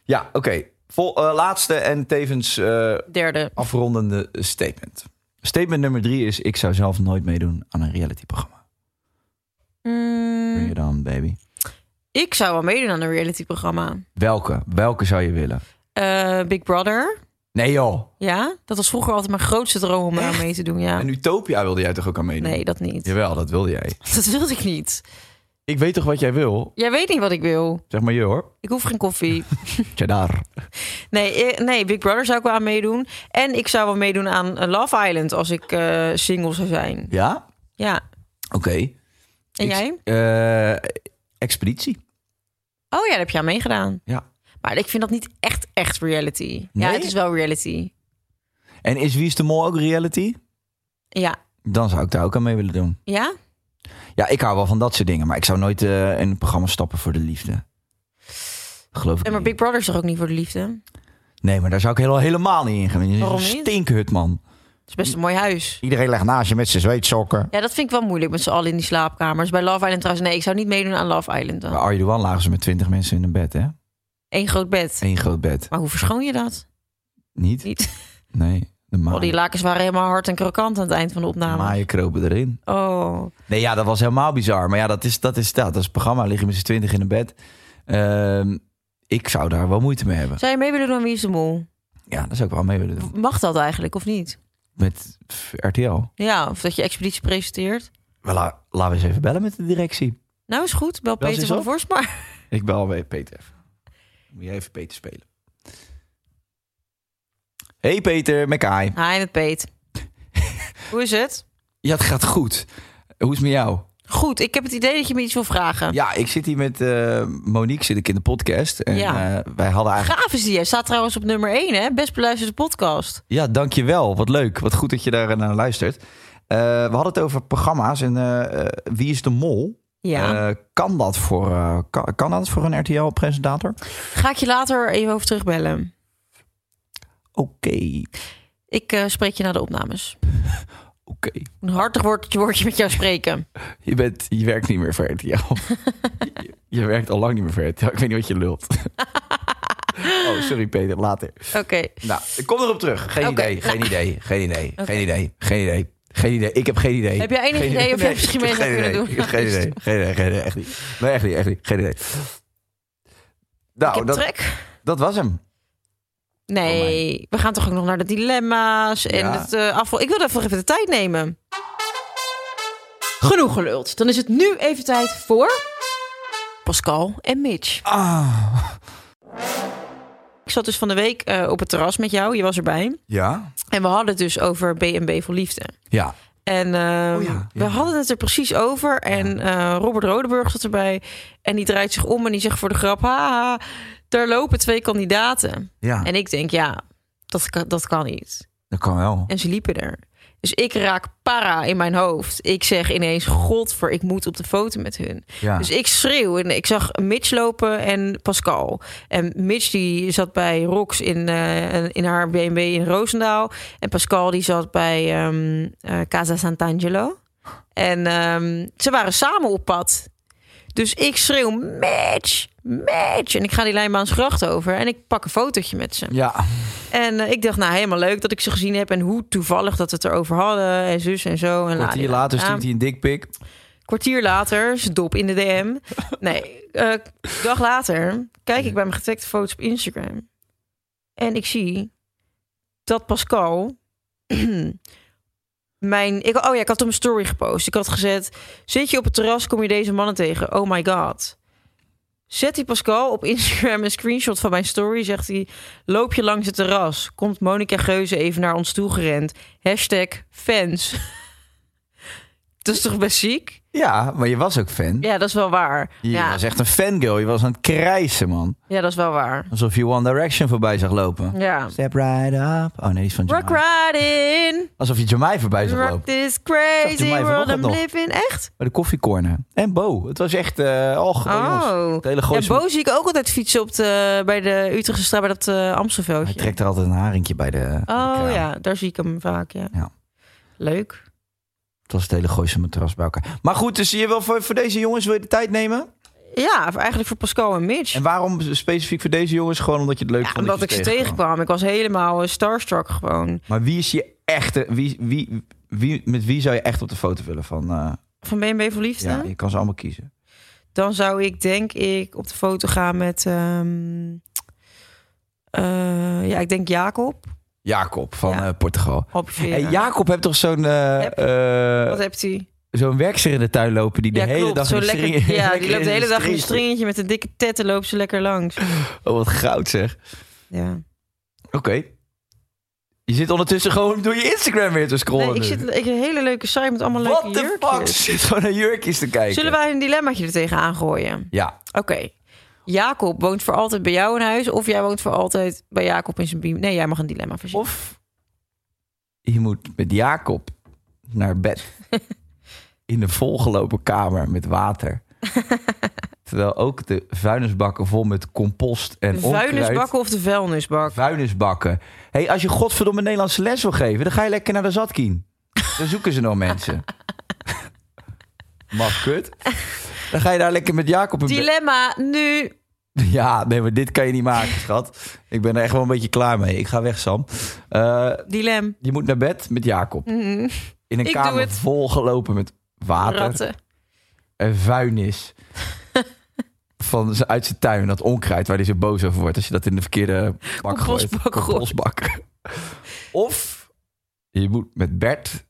[SPEAKER 3] Ja, oké. Vol- eh, laatste en tevens eh,
[SPEAKER 2] Derde.
[SPEAKER 3] afrondende statement. Statement nummer drie is: ik zou zelf nooit meedoen aan een realityprogramma. Bring
[SPEAKER 2] Mm,
[SPEAKER 3] it on, baby.
[SPEAKER 2] ik zou wel meedoen aan een realityprogramma.
[SPEAKER 3] Welke? Welke zou je willen?
[SPEAKER 2] Eh, Big Brother.
[SPEAKER 3] Nee joh.
[SPEAKER 2] Ja, dat was vroeger altijd mijn grootste droom om daar mee te doen. Ja.
[SPEAKER 3] En Utopia wilde jij toch ook aan meedoen?
[SPEAKER 2] Nee, dat niet.
[SPEAKER 3] Jawel, dat wilde jij.
[SPEAKER 2] Dat wilde ik niet.
[SPEAKER 3] Ik weet toch wat jij wil?
[SPEAKER 2] Jij weet niet wat ik wil.
[SPEAKER 3] Zeg maar je hoor.
[SPEAKER 2] Ik hoef geen koffie.
[SPEAKER 3] Cheddar.
[SPEAKER 2] Nee, eh, nee Big Brother zou ik wel aan meedoen. En ik zou wel meedoen aan eh, Love Island als ik eh, single zou zijn.
[SPEAKER 3] Ja?
[SPEAKER 2] Ja.
[SPEAKER 3] Oké.
[SPEAKER 2] En
[SPEAKER 3] Ik-
[SPEAKER 2] jij?
[SPEAKER 3] eh, expeditie.
[SPEAKER 2] Oh ja, daar heb je aan meegedaan.
[SPEAKER 3] Ja.
[SPEAKER 2] Maar ik vind dat niet echt, echt reality. Ja,
[SPEAKER 3] Nee?
[SPEAKER 2] het is wel reality.
[SPEAKER 3] En is Wie is de Mol ook reality?
[SPEAKER 2] Ja.
[SPEAKER 3] Dan zou ik daar ook aan mee willen doen.
[SPEAKER 2] Ja?
[SPEAKER 3] Ja, ik hou wel van dat soort dingen. Maar ik zou nooit eh, in een programma stappen voor de liefde. Geloof ik
[SPEAKER 2] En maar
[SPEAKER 3] niet.
[SPEAKER 2] Big Brother is toch ook niet voor de liefde? Het
[SPEAKER 3] Nee, maar daar zou ik helemaal, helemaal niet in gaan. Het is
[SPEAKER 2] Waarom
[SPEAKER 3] een
[SPEAKER 2] niet?
[SPEAKER 3] stinkhut, man.
[SPEAKER 2] is best een mooi huis.
[SPEAKER 3] Iedereen legt naast je met zijn zweetsokken.
[SPEAKER 2] Ja, dat vind ik wel moeilijk met z'n allen in die slaapkamers. Bij Love Island trouwens, nee, ik zou niet meedoen aan Love Island
[SPEAKER 3] Bij
[SPEAKER 2] dan.
[SPEAKER 3] Arjen Duan lagen ze met twintig mensen in een bed, hè?
[SPEAKER 2] Eén groot bed.
[SPEAKER 3] Eén groot bed.
[SPEAKER 2] Maar hoe verschoon je dat?
[SPEAKER 3] Niet?
[SPEAKER 2] Niet.
[SPEAKER 3] Nee. De
[SPEAKER 2] Al die
[SPEAKER 3] maaien,
[SPEAKER 2] lakens waren helemaal hard en krokant aan het eind van de
[SPEAKER 3] de
[SPEAKER 2] opname.
[SPEAKER 3] maaien kropen erin.
[SPEAKER 2] Oh.
[SPEAKER 3] Nee, ja, dat was helemaal bizar. Maar ja, dat is dat. Is, dat, dat is het programma. Liggen met z'n twintig in een bed. Ehm, ik zou daar wel moeite mee hebben.
[SPEAKER 2] Zou je mee willen doen aan Wie is de Mol?
[SPEAKER 3] Ja, dat zou ik wel mee willen doen.
[SPEAKER 2] Mag dat eigenlijk, of niet?
[SPEAKER 3] Met RTL.
[SPEAKER 2] Ja, of dat je expeditie presenteert.
[SPEAKER 3] Maar la- laten we eens even bellen met de directie.
[SPEAKER 2] Nou is goed, bel
[SPEAKER 3] Bel ze
[SPEAKER 2] Peter
[SPEAKER 3] eens
[SPEAKER 2] van
[SPEAKER 3] op.
[SPEAKER 2] Vorst maar.
[SPEAKER 3] Ik bel bij Peter even. Moet jij even Peter spelen. Hey Peter, met Kai.
[SPEAKER 2] Hi met Peet. Hoe is het?
[SPEAKER 3] Ja, het gaat goed. Hoe is het met jou?
[SPEAKER 2] Goed, ik heb het idee dat je me iets wil vragen.
[SPEAKER 3] Ja, ik zit hier met eh, Monique, zit ik in de podcast. En
[SPEAKER 2] Ja.
[SPEAKER 3] eh, wij hadden eigenlijk...
[SPEAKER 2] Gaaf is die. Hij staat trouwens op nummer 1, hè? Best beluisterde podcast.
[SPEAKER 3] Ja, dankjewel. Wat leuk. Wat goed dat je daar naar luistert. Eh, we hadden het over programma's en eh, eh, Wie is de Mol?
[SPEAKER 2] Ja.
[SPEAKER 3] Eh, kan, dat voor, eh, kan, kan dat voor een RTL-presentator?
[SPEAKER 2] Ga ik je later even over terugbellen.
[SPEAKER 3] Oké,
[SPEAKER 2] Ik eh, spreek je na de opnames.
[SPEAKER 3] oké.
[SPEAKER 2] Een hartig woordje, woordje met jou spreken.
[SPEAKER 3] Je, bent, je werkt niet meer voor RTL. je, je werkt al lang niet meer voor RTL. Ik weet niet wat je lult. oh, sorry Peter, later.
[SPEAKER 2] Oké.
[SPEAKER 3] Nou, ik kom erop terug. Geen
[SPEAKER 2] Oké,
[SPEAKER 3] idee,
[SPEAKER 2] nou.
[SPEAKER 3] geen idee, geen idee, geen idee, geen idee. Geen idee, ik heb geen idee.
[SPEAKER 2] Heb jij enig
[SPEAKER 3] Geen
[SPEAKER 2] idee of jij
[SPEAKER 3] Nee,
[SPEAKER 2] misschien
[SPEAKER 3] ik heb
[SPEAKER 2] mee zou
[SPEAKER 3] geen
[SPEAKER 2] kunnen
[SPEAKER 3] idee.
[SPEAKER 2] doen?
[SPEAKER 3] Ik heb geen idee, geen idee, geen idee, echt niet. Nee, echt niet, echt niet, geen idee.
[SPEAKER 2] ik
[SPEAKER 3] Nou,
[SPEAKER 2] heb
[SPEAKER 3] dat,
[SPEAKER 2] trek.
[SPEAKER 3] dat was hem.
[SPEAKER 2] Nee, we gaan toch ook nog naar de dilemma's en
[SPEAKER 3] Ja.
[SPEAKER 2] het eh afval. Ik wil even, even de tijd nemen. Genoeg geluld. Dan is het nu even tijd voor Pascal en Mitch.
[SPEAKER 3] Ah.
[SPEAKER 2] Ik zat dus van de week eh, op het terras met jou. Je was erbij.
[SPEAKER 3] Ja?
[SPEAKER 2] En we hadden het dus over B&B voor liefde.
[SPEAKER 3] Ja.
[SPEAKER 2] En ehm,
[SPEAKER 3] Oh ja,
[SPEAKER 2] we
[SPEAKER 3] ja.
[SPEAKER 2] hadden het er precies over. En eh, Robert Rodenburg zat erbij. En die draait zich om en die zegt voor de grap... Haha, daar lopen twee kandidaten.
[SPEAKER 3] Ja,
[SPEAKER 2] En ik denk, ja, dat kan, dat kan niet.
[SPEAKER 3] dat kan wel.
[SPEAKER 2] En ze liepen er. Dus ik raak para in mijn hoofd. Ik zeg ineens, godver, ik moet op de foto met hun.
[SPEAKER 3] Ja.
[SPEAKER 2] Dus ik schreeuw en ik zag Mitch lopen en Pascal. En Mitch die zat bij Rox in, eh, in haar BMW in Roosendaal. En Pascal die zat bij ehm, eh, Casa Sant'Angelo. En ehm, ze waren samen op pad. Dus ik schreeuw, Mitch, Mitch. En ik ga die Leijmaansgracht over en ik pak een fotootje met ze.
[SPEAKER 3] Ja.
[SPEAKER 2] En eh, ik dacht, nou, helemaal leuk dat ik ze gezien heb. En hoe toevallig dat we het erover hadden. En zus en zo. En
[SPEAKER 3] Kwartier
[SPEAKER 2] ladila.
[SPEAKER 3] later
[SPEAKER 2] Ah,
[SPEAKER 3] stuurt hij een dikpik.
[SPEAKER 2] Kwartier later, ze dop in de DM. Nee, eh, dag later kijk ik bij mijn getagde foto's op Instagram. En ik zie dat Pascal... mijn... Ik, oh ja, ik had een story gepost. Ik had gezet... Zit je op het terras, kom je deze mannen tegen. Oh my god. Zet die Pascal op Instagram een screenshot van mijn story. Zegt hij, loop je langs het terras. Komt Monica Geuze even naar ons toe gerend. Hashtag fans. dat is toch best ziek?
[SPEAKER 3] Ja, maar je was ook fan.
[SPEAKER 2] Ja, dat is wel waar.
[SPEAKER 3] Je
[SPEAKER 2] Ja,
[SPEAKER 3] was echt een fangirl. Je was aan het krijsen, man.
[SPEAKER 2] ja dat is wel waar.
[SPEAKER 3] Alsof je One Direction voorbij zag lopen.
[SPEAKER 2] Ja.
[SPEAKER 3] Step right up. Oh nee, die is van
[SPEAKER 2] Rock
[SPEAKER 3] Jamai.
[SPEAKER 2] right in,
[SPEAKER 3] Alsof je Jamai voorbij zag
[SPEAKER 2] rock
[SPEAKER 3] lopen.
[SPEAKER 2] this
[SPEAKER 3] Zag je
[SPEAKER 2] crazy
[SPEAKER 3] mij
[SPEAKER 2] world
[SPEAKER 3] vanochtend
[SPEAKER 2] I'm
[SPEAKER 3] nog?
[SPEAKER 2] living. Echt?
[SPEAKER 3] Bij de koffiecorner. En Bo. Het was echt... eh och, oh, jongens.
[SPEAKER 2] Oh.
[SPEAKER 3] Het hele
[SPEAKER 2] Ja,
[SPEAKER 3] gooise...
[SPEAKER 2] Bo zie ik ook altijd fietsen op de, bij de Utrechtse straat, bij dat eh
[SPEAKER 3] Hij
[SPEAKER 2] Amstelveldje.
[SPEAKER 3] trekt er altijd een haringje bij de... bij de
[SPEAKER 2] Oh
[SPEAKER 3] kraan.
[SPEAKER 2] ja, daar zie ik hem vaak, ja.
[SPEAKER 3] Ja.
[SPEAKER 2] Leuk.
[SPEAKER 3] Dat was het hele gooise matras bij elkaar. Maar goed, dus je wil voor, voor deze jongens wil je de tijd nemen?
[SPEAKER 2] Ja, voor- eigenlijk voor Pascal en Mitch.
[SPEAKER 3] En waarom specifiek voor deze jongens? Gewoon omdat je het leuk
[SPEAKER 2] Ja,
[SPEAKER 3] vond. dat
[SPEAKER 2] omdat ik
[SPEAKER 3] je
[SPEAKER 2] ze tegenkwam. Ik was helemaal eh, starstruck gewoon.
[SPEAKER 3] Maar wie is je echte... Wie, wie, wie, met wie zou je echt op de foto willen van... eh,
[SPEAKER 2] Van BNB voor Liefde.
[SPEAKER 3] ja, je kan ze allemaal kiezen.
[SPEAKER 2] Dan zou ik denk ik op de foto gaan met... ehm, eh, ja, ik denk Jacob.
[SPEAKER 3] Jacob van
[SPEAKER 2] Ja.
[SPEAKER 3] eh, Portugal.
[SPEAKER 2] Obvieus.
[SPEAKER 3] Hey, Jacob heeft toch zo'n eh,
[SPEAKER 2] Heb-
[SPEAKER 3] eh,
[SPEAKER 2] Wat hebt hij?
[SPEAKER 3] zo'n werkster in de tuin lopen die de
[SPEAKER 2] ja,
[SPEAKER 3] hele
[SPEAKER 2] klopt.
[SPEAKER 3] dag
[SPEAKER 2] zo
[SPEAKER 3] in een
[SPEAKER 2] lekker,
[SPEAKER 3] string-
[SPEAKER 2] Ja,
[SPEAKER 3] lekker
[SPEAKER 2] die loopt de
[SPEAKER 3] in
[SPEAKER 2] hele
[SPEAKER 3] een
[SPEAKER 2] dag in een
[SPEAKER 3] string-
[SPEAKER 2] stringetje met een dikke tetten loopt ze lekker langs.
[SPEAKER 3] Oh, wat goud zeg.
[SPEAKER 2] Ja.
[SPEAKER 3] Oké. Je zit ondertussen gewoon door je Instagram weer te scrollen.
[SPEAKER 2] Nee, ik
[SPEAKER 3] nu.
[SPEAKER 2] zit ik heb een hele leuke site met allemaal
[SPEAKER 3] What
[SPEAKER 2] leuke
[SPEAKER 3] the
[SPEAKER 2] jurkjes.
[SPEAKER 3] fuck? Je zit gewoon naar jurkjes te kijken.
[SPEAKER 2] Zullen wij een dilemmaatje er tegenaan gooien?
[SPEAKER 3] Ja.
[SPEAKER 2] Oké. Jacob woont voor altijd bij jou in huis... of jij woont voor altijd bij Jacob in zijn biem. Nee, jij mag een dilemma verzinnen.
[SPEAKER 3] Of je moet met Jacob naar bed. in de volgelopen kamer met water. Terwijl ook de vuilnisbakken vol met compost en
[SPEAKER 2] De
[SPEAKER 3] onkruid...
[SPEAKER 2] vuilnisbakken of de vuilnisbak?
[SPEAKER 3] Vuilnisbakken. hey, als je godverdomme Nederlandse les wil geven... dan ga je lekker naar de Zatkien. Dan zoeken ze nog mensen. Maf kut. Dan ga je daar lekker met Jacob in bed.
[SPEAKER 2] Dilemma nu.
[SPEAKER 3] Ja, nee, maar dit kan je niet maken, schat. Ik ben er echt wel een beetje klaar mee. Ik ga weg, Sam. Eh,
[SPEAKER 2] Dilem.
[SPEAKER 3] je moet naar bed met Jacob.
[SPEAKER 2] Mhm.
[SPEAKER 3] In een
[SPEAKER 2] Ik doe
[SPEAKER 3] kamer
[SPEAKER 2] het.
[SPEAKER 3] volgelopen met water
[SPEAKER 2] Ratten.
[SPEAKER 3] en vuilnis. van zijn, uit zijn tuin, dat onkruid waar hij zo boos over wordt. Als je dat in de verkeerde bak gooit.
[SPEAKER 2] Compostbak gooit.
[SPEAKER 3] Compostbak. of je moet met Bert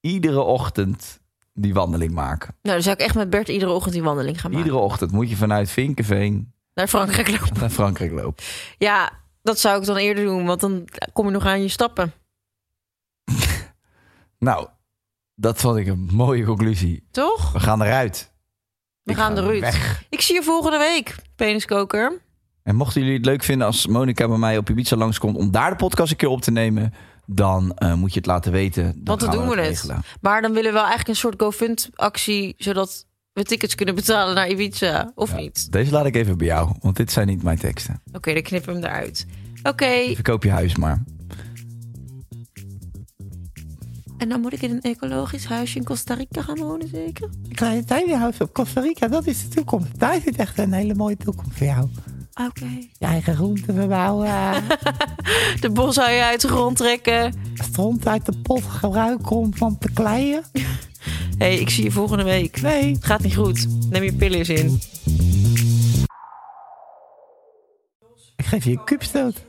[SPEAKER 3] iedere ochtend die wandeling maken.
[SPEAKER 2] Nou, dan zou ik echt met Bert iedere ochtend die wandeling gaan maken.
[SPEAKER 3] Iedere ochtend moet je vanuit Vinkenveen
[SPEAKER 2] Naar Frankrijk lopen.
[SPEAKER 3] naar Frankrijk lopen.
[SPEAKER 2] Ja, dat zou ik dan eerder doen, want dan kom je nog aan je stappen.
[SPEAKER 3] Nou, dat vond ik een mooie conclusie.
[SPEAKER 2] Toch?
[SPEAKER 3] We gaan eruit.
[SPEAKER 2] We
[SPEAKER 3] Ik
[SPEAKER 2] gaan
[SPEAKER 3] ga
[SPEAKER 2] eruit.
[SPEAKER 3] Weg.
[SPEAKER 2] Ik zie je volgende week, peniskoker.
[SPEAKER 3] En mochten jullie het leuk vinden als Monica bij mij op Ibiza langskomt... om daar de podcast een keer op te nemen... dan eh, moet je het laten weten. Dan
[SPEAKER 2] Want dan
[SPEAKER 3] gaan
[SPEAKER 2] doen we
[SPEAKER 3] dat
[SPEAKER 2] het.
[SPEAKER 3] regelen.
[SPEAKER 2] Maar dan willen we wel eigenlijk een soort GoFund-actie, zodat we tickets kunnen betalen naar Ibiza, of
[SPEAKER 3] Ja.
[SPEAKER 2] niet?
[SPEAKER 3] Deze laat ik even bij jou, want dit zijn niet mijn teksten.
[SPEAKER 2] Oké, dan knippen we hem eruit. Oké,
[SPEAKER 3] Verkoop je huis maar.
[SPEAKER 2] en dan moet ik in een ecologisch huisje in Costa Rica gaan wonen, zeker?
[SPEAKER 4] Een kleine tuinhuis op Costa Rica, dat is de toekomst. Daar zit echt een hele mooie toekomst voor jou.
[SPEAKER 2] Oké.
[SPEAKER 4] Je eigen groenten verbouwen,
[SPEAKER 2] De boshaaien uit de grond trekken.
[SPEAKER 4] stront uit de pot gebruiken om van te kleien.
[SPEAKER 2] hey, ik zie je volgende week.
[SPEAKER 4] Nee,
[SPEAKER 2] Het gaat niet goed. Neem je pillen eens in.
[SPEAKER 4] ik geef je een kupstoot.